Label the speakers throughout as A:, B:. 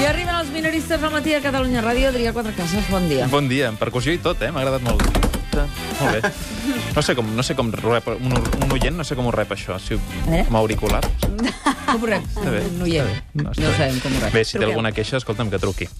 A: I arriben els minoristes al matí a Catalunya Ràdio. Adrià Quatrecases, bon dia.
B: Bon dia, en percussió i tot, eh? M'ha agradat molt. Molt bé. No sé com, no sé com rep, un, un oient, no sé com ho rep això, si ho,
A: veure.
B: amb auricular.
A: Com ho rep?
B: Està bé.
A: No hi
B: està
A: és.
B: bé.
A: No,
B: està
A: no
B: bé.
A: sabem com ho rep.
B: Bé, si té alguna queixa, escolta'm, que truqui.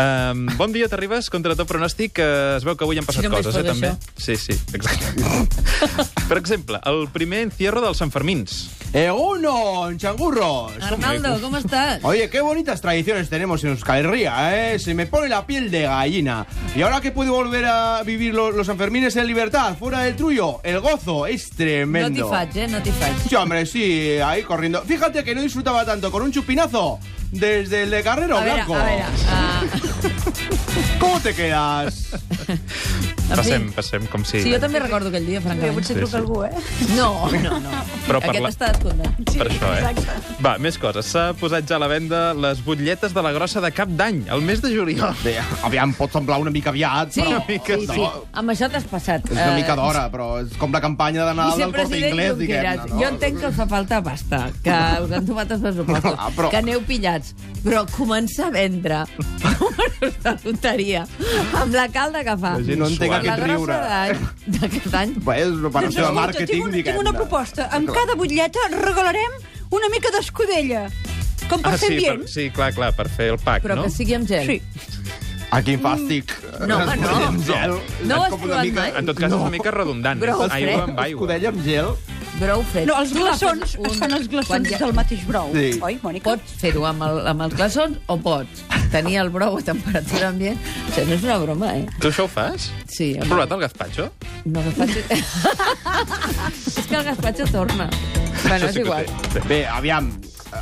B: Um, bon dia, t'arribes? Contra tot pronòstic, eh, es veu que avui han passat
A: Si només
B: coses, eh,
A: fos
B: també.
A: això.
B: Sí, sí, exacte. per exemple, el primer encierro dels Sanfermins.
C: Eh, ¡Egunon, changurros!
A: Arnaldo, com estàs?
C: Oye, qué bonitas tradiciones tenemos en Euskal Herria, ¿eh? Se me pone la piel de gallina. Y ahora que puedo volver a vivir lo- los Sanfermines en libertad, fuera del trullo, el gozo es
A: No
C: tremendo.
A: t'hi faig, eh? No t'hi faig.
C: Sí, hombre, sí, ahí corriendo. Fíjate que no disfrutaba tanto con un chupinazo desde el de Carrero
A: A veure,
C: Blanco.
A: a veure. Uh,
C: ¿Cómo te quedas?
B: Passem, passem, com
A: Ah,
B: si...
A: sí, jo també recordo aquell dia,
D: Bé,
A: francament.
D: potser
B: Sí, sí.
D: truca algú, eh?
A: No, no, no.
B: Però
A: Aquest
B: parla-
A: està descomptat.
B: per això, eh?
D: exacte.
B: Va, més coses. S'ha posat ja a la venda les butlletes de la grossa de cap d'any, el mes de juliol.
C: Bé, aviam, pot semblar una mica aviat,
A: Sí,
C: però...
B: mica,
A: sí, sí.
C: no.
A: Amb això t'has passat.
C: És una
A: Eh,
C: mica d'hora, però és com la campanya de Nadal del Corte
A: Vicepresident
C: Inglés,
A: Junqueras,
C: diguem-ne, no?
A: Jo entenc que us fa falta pasta, que us han tomat els pressupostos,
C: Ah, però-
A: que aneu pillats, però començar a vendre números de loteria amb la calda que fa.
B: La gent
C: No entenc
B: suant.
A: la
C: aquest riure.
A: grossa d'any d'aquest any.
C: Bé, és una operació de màrquting,
D: tinc, una, tinc
C: diguem-ne.
D: una proposta. Amb cada butlleta regalarem una mica d'escudella. Com per
B: Ah,
D: fer
B: sí,
D: ambient.
B: per, sí, clar, clar, per fer el pack,
A: Però
B: no?
A: que sigui amb gel.
D: Sí.
C: A quin fàstic.
A: Mm. No, home, no.
C: Amb gel.
A: No ho
C: És
A: has
C: com una
A: provat
C: mica-
A: mai?
B: En tot cas, és
C: No.
B: una mica redundant.
A: Brou
B: és aigua
A: fred.
B: amb aigua.
C: Escudella amb gel.
A: Brou fred.
D: No, els
A: Tu agafes
D: glaçons
A: un-
D: es fan els
A: quan
D: glaçons
A: ja-
D: del mateix brou.
C: Sí.
D: Oi, Mònica?
A: Pots fer-ho amb, el, amb els glaçons o pots tenir el brou a temperatura ambient. O sigui, no és una broma, eh?
B: Tu això ho fas?
A: Sí,
B: Has provat el gazpacho?
A: No, gazpacho... és que el gazpacho torna. Bueno, és
B: que ho
A: igual.
B: té. Sí.
C: Bé, aviam,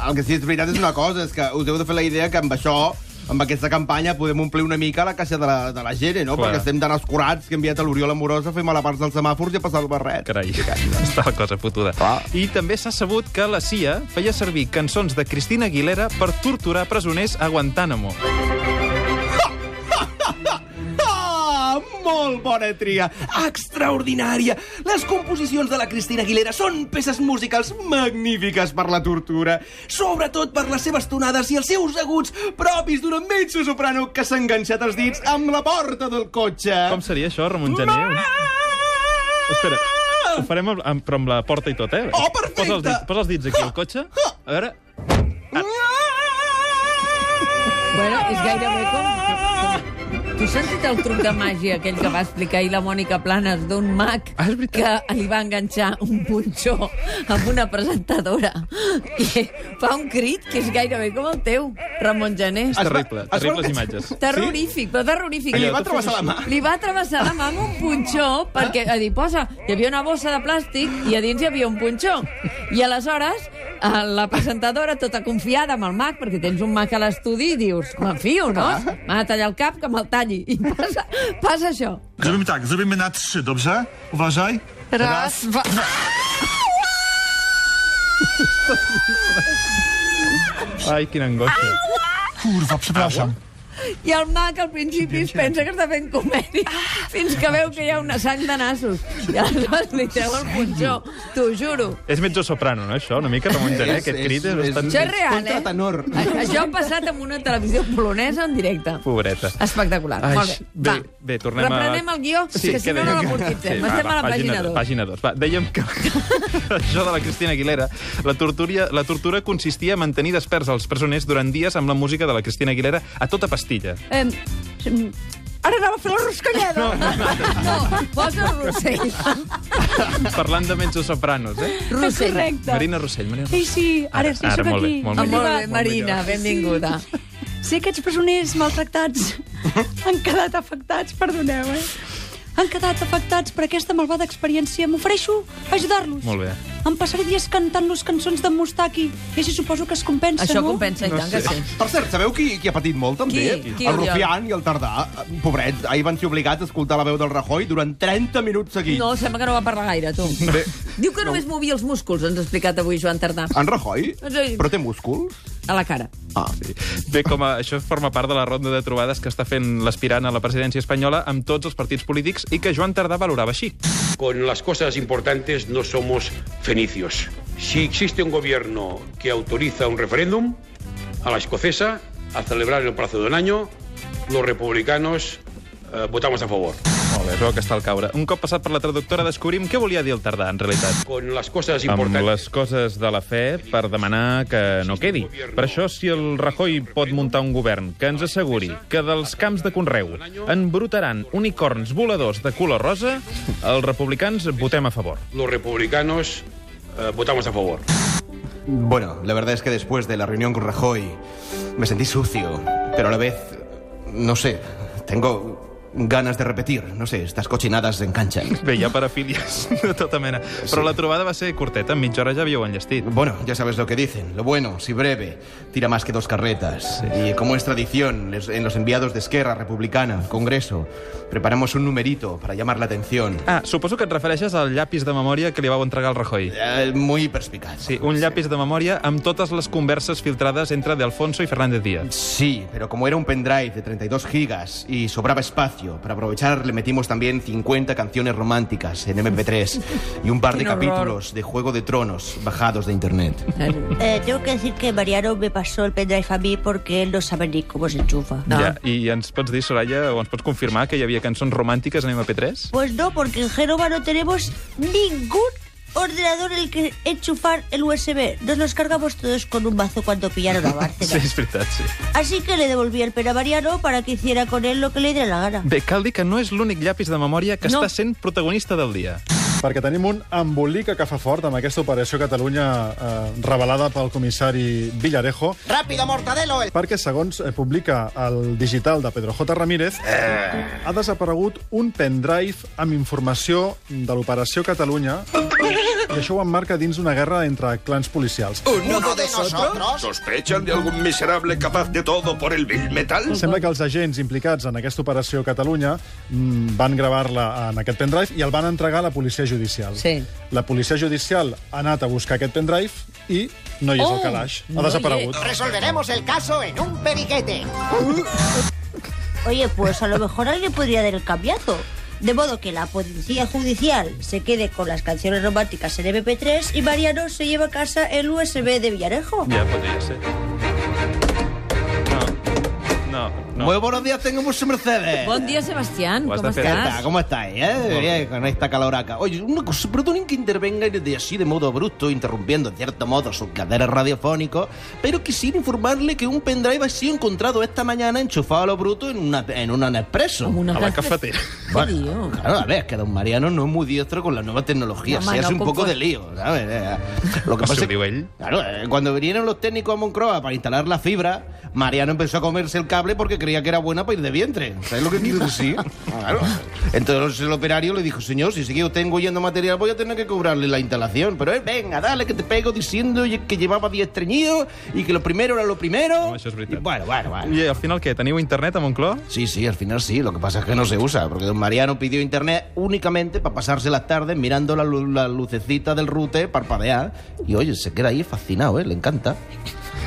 C: el que sí és veritat és una cosa, és que us heu de fer la idea que amb això amb aquesta campanya podem omplir una mica la caixa de la, de la gent, no?
B: Clar.
C: Perquè estem tan escurats que he enviat a l'Oriol Amorós a fer mala part dels semàfors i a passar el barret.
B: Carai, està la cosa fotuda.
C: Ah.
B: I també s'ha sabut que la CIA feia servir cançons de Cristina Aguilera per torturar presoners a Guantánamo.
E: Ah, molt bona tria! Extraordinària! Les composicions de la Cristina Aguilera són peces musicals magnífiques per la tortura, sobretot per les seves tonades i els seus aguts propis d'una metge soprano que s'ha enganxat els dits amb la porta del cotxe. Ah!
B: Com seria això, Ramon Gené? Espera, ho farem amb, amb, però amb la porta i tot, eh?
E: Oh, perfecte!
B: Posa els, dits, posa els dits aquí al cotxe.
A: Ah!
B: A veure... Ah!
A: Bueno, és gairebé com... com... Tu has sentit el truc de màgia aquell que va explicar ahir la Mònica Planes d'un mag
B: Ah, és veritat.
A: que li va enganxar un punxó amb una presentadora i fa un crit que és gairebé com el teu, Ramon Jané.
B: És terrible,
C: es fa-
B: terribles imatges.
A: Terrorífic, però terrorífic.
C: I li va
B: tu
C: travessar la mà.
A: Li va travessar la mà amb un punxó perquè, a dir, posa, hi havia una bossa de plàstic i a dins hi havia un punxó. I aleshores eh, la presentadora, tota confiada amb el mag, perquè tens un mag a l'estudi, i dius, me'n fio, no? M'ha de tallar el cap, que me'l talli. I passa, passa això.
F: Zrobimy tak, zrobimy na trzy, dobrze? Uważaj.
A: Raz, va...
B: Ai, quina angoixa.
F: Kurwa, przepraszam.
A: I el mag al principi es pensa que està fent comèdia fins que veu que hi ha una sang de nassos. I aleshores li treu el punxó, t'ho juro.
B: És mezzo-soprano, no, això? Una mica, Ramon Gené, aquest crit és bastant...
A: Això és real, eh?
C: contratenor.
A: A- Això ha passat en una televisió polonesa en directe.
B: Pobreta.
A: Espectacular.
B: Ai,
A: Molt bé.
B: bé, bé, tornem a-
A: Reprenem el guió, sí, que si no, no l'amortitzem. Sí, Estem a la pàgina 2.
B: Pàgina 2. Va, dèiem que això de la Cristina Aguilera, la, tortura, la tortura consistia a mantenir desperts els presoners durant dies amb la música de la Cristina Aguilera a tota pastilla.
D: Eh, mm, ara anava a fer la ruscalleda. No, no.
A: No, posa el Rossell.
B: Parlant de mezzo-sopranos, eh?
A: Rossell.
D: Correcte.
B: Marina Rossell, Marina
D: Sí,
B: Rossell.
D: sí, ara,
B: Ara-
D: sí,
B: ara,
D: sóc
B: molt bé,
D: aquí.
B: molt
A: Ah,
B: millor.
A: Molt bé,
B: Molt
A: Marina,
B: millor.
A: benvinguda.
D: Si aquests presoners maltractats han quedat afectats, perdoneu, eh? Han quedat afectats per aquesta malvada experiència. M'ofereixo a ajudar-los.
B: Molt bé.
D: Em passaré dies cantant-los cançons de Mustaki. I així suposo que es compensa,
A: Això
D: no?
A: compensa, i tant que sí.
C: Per cert, sabeu qui, qui ha patit molt, també?
A: Qui? Qui,
C: el
A: Oriol?
C: Rufián i el Tardà. Pobrets, ahir van ser obligats a escoltar la veu del Rajoy durant 30 minuts seguits.
A: No, sembla que no va parlar gaire, tu. Diu que només movia els músculs, ens ha explicat avui Joan Tardà.
B: Ah.
C: En Rajoy?
A: Sí.
C: Però té músculs?
A: A la cara.
C: Ah,
B: Sí. Bé, com a, això forma part de la ronda de trobades que està fent l'aspirant a la presidència espanyola amb tots els partits polítics i que Joan Tardà valorava així.
G: Con las cosas importantes no somos fenicios. Si existe un gobierno que autoriza un referéndum, a la escocesa a celebrar en el plazo de un año, los republicanos eh, votamos a favor.
B: Molt bé, es veu que està al caure. Un cop passat per la traductora descobrim què volia dir el Tardà, en realitat.
G: Con las cosas
B: Amb
G: importantes.
B: les coses de la fe per demanar que no quedi. Per això, si el Rajoy pot muntar un govern que ens asseguri que dels camps de Conreu embrutaran unicorns voladors de color rosa, els republicans votem a favor.
G: Los republicanos eh, votamos a favor.
E: Bueno, la verdad es que después de la reunión con Rajoy me sentí sucio, pero a la vez, no sé, tengo ganas de repetir, no sé, estas cochinadas enganchan.
B: Bé, hi ha parafílies de tota mena. Però la trobada va ser curteta, en mitja hora ja havíeu enllestit.
E: Bueno, ya sabes lo que dicen, lo bueno, si breve, tira más que dos carretas. Y como es tradición, les- en los enviados de Esquerra Republicana, al Congreso, preparamos un numerito para llamar la atención.
B: Ah, suposo que et refereixes al llapis de memòria que li vau entregar al Rajoy.
E: Eh, muy perspicaz.
B: Sí, un llapis de memòria amb totes les converses filtrades entre Delfonso i Fernández Díaz.
E: Sí, pero como era un pendrive de 32 gigas y sobraba espacio, para aprovechar le metimos también 50 canciones románticas en MP3 y un par de
A: Qué horror.
E: capítulos de Juego de Tronos bajados de internet.
H: Eh, tengo que decir que Mariano me pasó el pendrive a mí porque él no sabe ni cómo se enchufa.
A: No.
B: Ja, I ens pots dir, Soraya, o ens pots confirmar que hi havia cançons romàntiques en MP3?
H: Pues no, porque en Génova no tenemos ningún ordenador en el que enchufar el USB. Nos los cargamos todos con un mazo cuando pillaron a
B: Sí,
H: Bárcenas.
B: és veritat, sí.
H: Así que le devolví el pen a Mariano para que hiciera con él lo que le diera la gana.
B: Bé, cal dir que no és l'únic llapis de memòria que no.
A: No.
B: està sent protagonista del dia.
I: Perquè tenim un embolica que fa fort amb aquesta operació Catalunya eh, revelada pel comissari Villarejo. Ràpido, Mortadelo! Perquè, segons eh, publica el digital de Pedro J. Ramírez, ha desaparegut un pendrive amb informació de l'operació Catalunya i això ho emmarca dins d'una guerra entre clans policials.
J: ¿Uno de nosotros? ¿Sospechan de algún miserable capaz de todo por el vil metal?
I: Sembla que els agents implicats en aquesta operació Catalunya mm, van gravar-la en aquest pendrive i el van entregar a la policia judicial.
A: Sí.
I: La policia judicial ha anat a buscar aquest pendrive i no hi és
A: Oh,
I: al calaix.
A: no
I: Ha
A: hi
I: desaparegut.
J: Resolveremos el caso en un periquete.
H: Oye, pues a lo mejor alguien podría dar el cambiazo. De modo que la policía judicial se quede con las canciones románticas en MP3 y Mariano se lleva a casa el USB de Villarejo.
B: Ja podria ser. No, no, no.
E: Muy buenos días, tengamos su Mercedes.
A: Bon dia, Sebastián,
B: Ho has
A: com
B: de fer.
E: ¿Qué tal?
A: estàs?
E: ¿Cómo estáis? eh? Bien, con esta caloraca. Oye, una cosa, perdonen que intervenga de así de modo abrupto, interrumpiendo en cierto modo sus caderas radiofónicos, pero quisiera informarle que un pendrive ha sido encontrado esta mañana enchufado a lo bruto en una en una Nespresso.
A: Com una
B: A la
A: casa-
B: cafetera.
A: Dios.
E: Bueno, claro, a ver, es que Don Mariano no es muy diestro con la nueva tecnología,
A: Mamá,
E: se hace
A: no
E: un poco
A: confo-
E: de lío, ¿sabes? Eh, Lo
B: Eso
E: es
B: digo él.
E: Claro, eh, cuando vinieron los técnicos a Moncroa para instalar la fibra, Mariano empezó a comerse el cable porque creía que era buena para ir de vientre. ¿Sabes lo que quiero decir? Claro. Entonces el operario le dijo, señor, si sigue usted engullendo material voy a tener que cobrarle la instalación. Pero él, venga, dale que te pego diciendo que llevaba 10 treñidos y que lo primero era lo primero.
B: No, eso es
E: Y
B: verdad.
E: bueno, bueno, bueno.
B: I al final què? Teniu internet a Montcló?
E: Sí, sí, al final sí. Lo que pasa es que no se usa, porque don Mariano pidió internet únicamente para pasarse las tardes mirando la, lu- la lucecita del router parpadear. Y oye, se queda ahí fascinado, ¿eh? Le encanta.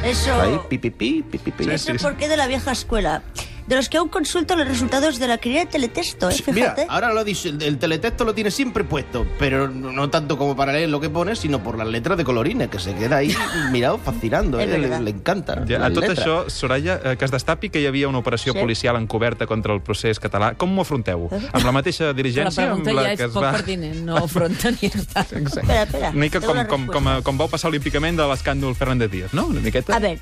E: Ahí,
H: Eso,
E: pi, pi, pi, pi, pi, pi.
B: Sí,
H: eso porque de la vieja escuela. De los que aún consultan los resultados de la querella de teletexto, ¿eh?
E: Sí, Mira,
B: ah,
H: Fíjate.
E: ahora lo dice, el, el teletexto lo tiene siempre puesto, pero no no tanto como para leer lo que pone, sino por las letras de colorines, que se queda ahí mirado, fascinando,
H: Es
E: ¿eh? le,
H: verdad.
E: le encanta.
B: Ja, a
E: las
B: tot
E: letras.
B: això, Soraya, eh, que es destapi que hi havia una operació
H: Sí.
B: policial encoberta contra el procés català. Com ho afronteu? Amb la mateixa
A: Eh? La
B: dirigència amb
A: pregunta
B: la
A: ja
B: que
A: és
B: es
A: poc
B: va...
A: pertinent, no afronta ni està.
H: Espera, espera.
B: Una mica
H: tengo
B: com,
H: una
B: com, com,
H: respuesta.
B: com vau passar olímpicament de l'escàndol Fernández Díaz, no? Una miqueta.
H: A ver,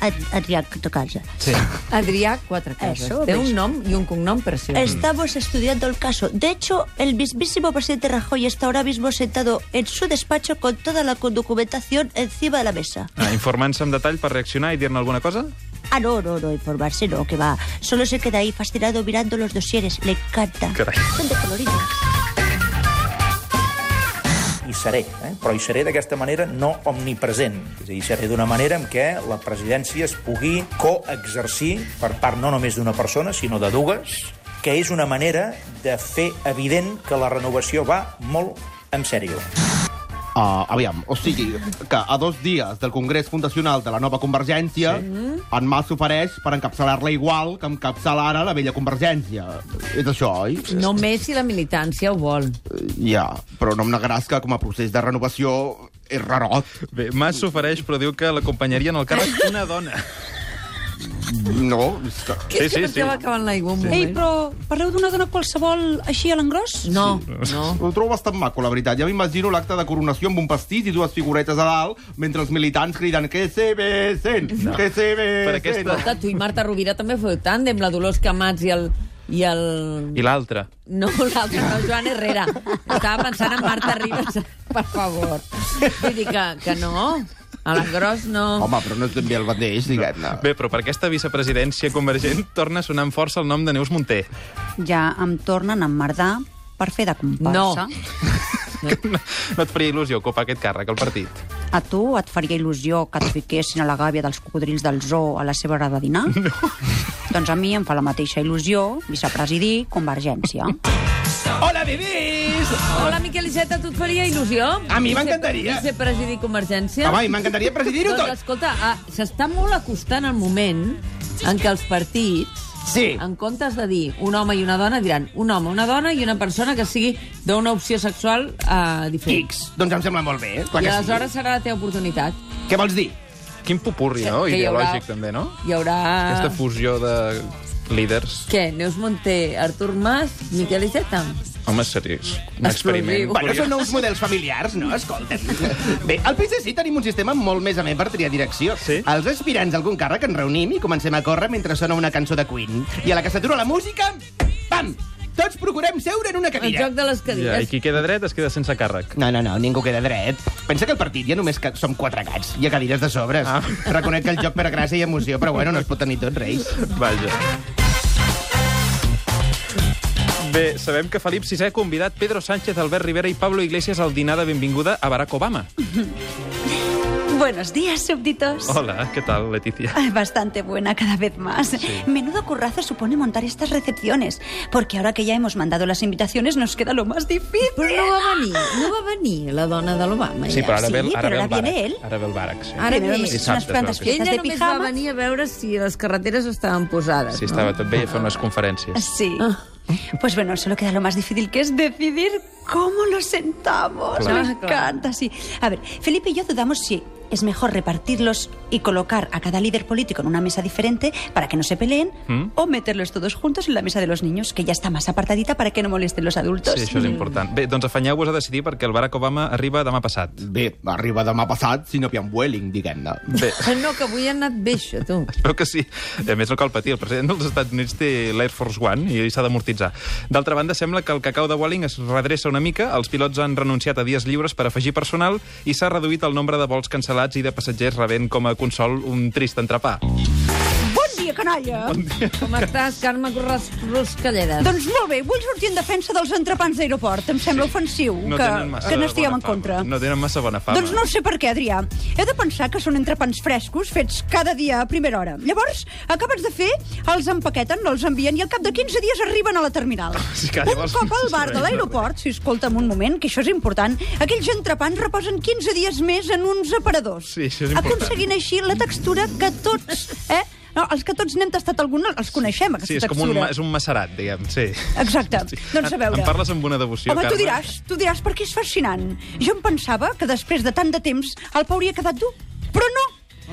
H: Ad- Adrián, que tu casa.
B: Sí.
A: Adrià Quatre Cases.
H: Eso,
A: Té
H: ves.
A: un nom i un cognom preciós.
H: Estamos estudiando el caso. De hecho, el mismísimo presidente Rajoy está ahora mismo sentado en su despacho con toda la documentación encima de la mesa.
B: Ah, Informant-se en detall per reaccionar i dir-ne alguna cosa?
H: Ah, no, no, no, informarse no, que va. Solo se queda ahí fascinado mirando los dosieres. Le encanta.
B: Caray.
H: Son de colorines.
K: hi seré, eh? però hi seré d'aquesta manera no omnipresent. És a dir, hi seré d'una manera en què la presidència es pugui coexercir per part no només d'una persona, sinó de dues, que és una manera de fer evident que la renovació va molt en sèrio.
E: Ah, aviam, o sigui, que a dos dies del Congrés Fundacional de la Nova Convergència, sí.
A: Mm.
E: en Mas s'ofereix per encapçalar-la igual que encapçala ara la vella Convergència. És això, oi?
A: Només si la militància ho vol.
E: Eh, Ja, però no em negaràs que com a procés de renovació és rarot.
B: Bé, Mas s'ofereix, però diu que l'acompanyaria en el càrrec una dona.
L: No.
A: Que és que m'estava acabant l'aigua un moment.
D: Ei, però parleu d'una dona qualsevol així a l'engròs?
A: No.
E: No. Ho trobo bastant maco, la veritat. Ja m'imagino l'acte de coronació amb un pastís i dues figuretes a dalt, mentre els militants criden que se besen, no. que se besen.
B: Per aquesta-
A: Escolta, tu i Marta Rovira també feu tàndem, la Dolors Camats i el... I el...
B: I l'altre.
A: No, l'altre, no, Joan Herrera. Estava pensant en Marta Ribas, per favor. Vull dir que, que no, a l'engròs no.
E: Home, però no és ben bé el mateix, diguem-ne.
B: Bé, però per aquesta vicepresidència convergent torna a sonar amb força el nom de Neus Munté.
D: Ja em tornen a emmerdar per fer de comparsa.
B: No et faria il·lusió copar aquest càrrec al partit?
D: A tu et faria il·lusió que et fiquessin a la gàbia dels cocodrils del zoo a la seva hora de dinar? No. Doncs a mi em fa la mateixa il·lusió vicepresidir Convergència.
A: Hola, bebès! Hola, Miquel Iceta, tu et faria il·lusió?
E: A mi
A: Vice-
E: m'encantaria.
A: Vicepresidir Convergència?
E: Home, i m'encantaria presidir-ho tot.
A: Doncs, escolta, ah, s'està molt acostant el moment en què els partits Sí. En comptes de dir un home i una dona, diran un home, una dona i una persona que sigui d'una opció sexual eh, diferent.
E: X. Doncs em sembla molt bé. Clar
A: I
E: que
A: aleshores serà la teva oportunitat.
E: sí. Què vols dir?
B: Quin pupurri,
A: Que-
B: no?
A: que hi haurà-
B: Ideològic, també, no?
A: Hi haurà...
B: Aquesta fusió de líders.
A: Què? Neus Monté, Artur Mas, Miquel Iceta?
B: Home, seriós. Un experiment.
E: Bueno, són nous models familiars, no? Escolta'm. Bé, al PSC tenim un sistema molt més amè per triar direcció. Sí? Els aspirants a algun càrrec ens reunim i comencem a córrer mentre sona una cançó de Queen. I a la que s'atura la música, pam! Tots procurem seure en una
A: El
E: cadira.
A: joc de les
B: Ja, I
A: cadires.
B: qui queda dret es queda sense càrrec.
E: No, no, no, ningú queda dret. Pensa que al partit ja només que som quatre gats. Hi ha cadires de sobres. Ah. Reconec que el joc per gràcia i emoció, però bueno, no es pot tenir tot, reis.
B: Vaja. Bé, sabem que Felip VI ha convidat Pedro Sánchez, Albert Rivera i Pablo Iglesias al dinar de benvinguda a Barack Obama.
D: Buenos días, súbditos.
B: Hola, què tal, Leticia?
D: Ay, Bastante buena cada vez más. Menudo currazo supone montar estas recepciones, porque ahora que ya hemos mandado las invitaciones nos queda lo más difícil.
A: Però no va venir, no va venir la dona de l'Obama.
B: Sí, però ara
D: sí,
B: ve,
D: però
B: ara ve
D: ara
B: el Barack.
D: viene ell.
B: Ara ve el Barack, sí.
A: Ara
D: Primero
A: ve.
D: mis-
B: Dissabte,
D: unas plantas
B: creo que sí.
D: fiestas
A: Ella
D: de
A: només va
D: pijama.
A: venir a veure si les carreteres estaven posades.
B: Sí,
A: no?
B: estava tot bé i a fer unes conferències.
D: Sí. Pues bueno, solo queda lo más difícil, que es decidir cómo nos sentamos.
B: Claro.
D: Me encanta, sí. A ver, Felipe y yo dudamos si es mejor repartirlos y colocar a cada líder político en una mesa diferente para que no se peleen,
B: ¿Mm?
D: o meterlos todos juntos en la mesa de los niños, que ya está más apartadita para que no molesten los adultos. Mm.
B: Sí, això és important. Bé, doncs afanyeu-vos a decidir perquè el Barack Obama arriba demà passat.
E: Bé, arriba demà passat, si no hi ha un Welling, diguem-ne.
B: Bé,
A: No, que avui han anat bé, això, tu.
B: Espero que sí. A més, no cal patir. El president dels Estats Units té l'Air Force One i s'ha d'amortitzar. D'altra banda, sembla que el cacau de Walling es redreça una mica, els pilots han renunciat a dies lliures per afegir personal i s'ha reduït el nombre de vols cancel·lats i de passatgers rebent com a consol un trist entrepà.
D: Bon dia, canalla!
A: Com estàs, Carme Ros- Ruscalleda?
D: Doncs molt bé, vull sortir en defensa dels entrepans d'aeroport. Em sembla sí. ofensiu
B: No
D: que,
B: tenen massa
D: que
B: bona
D: n'estiguem en
B: fama.
D: contra.
B: No tenen massa bona fama.
D: Doncs no sé per què, Adrià. He de pensar que són entrepans frescos fets cada dia a primera hora. Llavors, acabats de fer, els empaqueten, no els envien i al cap de 15 dies arriben a la terminal.
B: Sí, que
D: un
B: llavors-
D: cop al bar de l'aeroport, si escolta'm un moment, que això és important, aquells entrepans reposen 15 dies més en uns aparadors.
B: Sí, això és important.
D: Aconseguint així la textura que tots... Eh? No, els que tots n'hem tastat algun, els coneixem, aquesta
B: Sí, és com
D: textura.
B: un, ma- és un macerat, diguem, sí.
D: Exacte. Doncs a veure.
B: Em parles amb una devoció,
D: Home, tu
B: Carme.
D: diràs, tu diràs, perquè és fascinant. Jo em pensava que després de tant de temps el Pau hauria quedat dur, però no.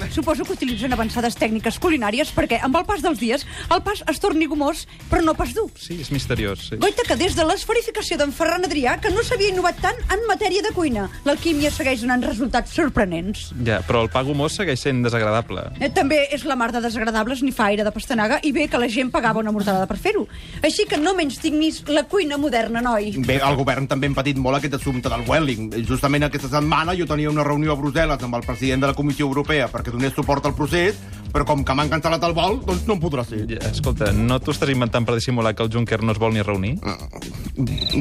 D: Suposo que utilitzen avançades tècniques culinàries perquè amb el pas dels dies el pas es torni gomós, però no pas dur.
B: Sí, és misteriós. Sí.
D: Goita que des de l'esferificació d'en Ferran Adrià que no s'havia innovat tant en matèria de cuina. L'alquímia segueix donant resultats sorprenents.
B: Ja, però el pa gomós segueix sent desagradable.
D: Eh, També és la mar de desagradables ni fa aire de pastanaga i bé que la gent pagava una mortalada per fer-ho. Així que no menys dignis la cuina moderna, noi.
E: Bé, el govern també hem patit molt aquest assumpte del Welling. Justament aquesta setmana jo tenia una reunió a Brussel·les amb el president de la Comissió Europea perquè donés suport al procés, però com que m'han cancel·lat el vol, doncs no em podrà ser.
B: Ja, escolta, no t'ho estàs inventant per dissimular que el Juncker no es vol ni reunir?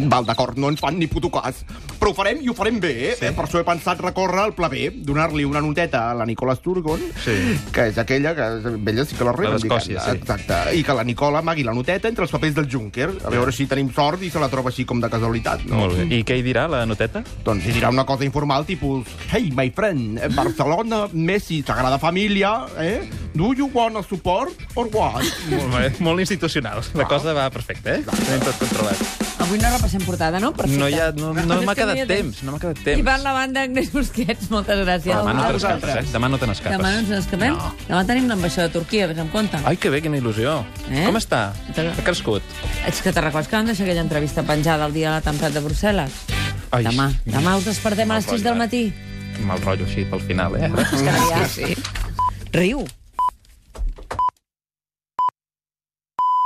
E: Val, d'acord, no ens fan ni puto cas. Però ho farem i ho farem bé, eh? Sí. Per això he pensat recórrer al pla B, donar-li una noteta a la Nicola Sturgon,
B: Sí.
E: que és aquella que vella sí que la reivindica.
B: d'Escòcia, sí.
E: Exacte. I que la Nicola amagui la noteta entre els papers del Juncker. A veure si tenim sort i se la troba així com de casualitat. No?
B: Molt bé. I què hi dirà, la noteta?
E: Doncs hi dirà una cosa informal tipus Hey, my friend, eh, Barcelona, Messi, Sagrada Família, eh? Do you want support or what?
B: Molt bé. Molt institucional. La cosa va perfecta, eh? Tenim tot controlat.
A: Home, Avui no repassem portada, no? Perfecte.
B: No, hi ha, no, no m'ha quedat temps, no m'ha quedat
A: I
B: temps.
A: van la banda Agnès Busquets, moltes gràcies.
B: Demà no te n'escapes, eh? Demà no te n'escapes.
A: Demà no ens n'escapem. No. Demà tenim l'ambaixada de Turquia, vés amb compte.
B: Ai, que bé, quina il·lusió. Eh? Com està? Ha crescut.
A: És que te'n recordes que vam deixar aquella entrevista penjada el dia de l'atemptat de Brussel·les?
B: Ai, demà.
A: Demà us despertem a les 6 del matí.
B: Mal rotllo així pel final, eh?
A: És que ja, sí. Riu.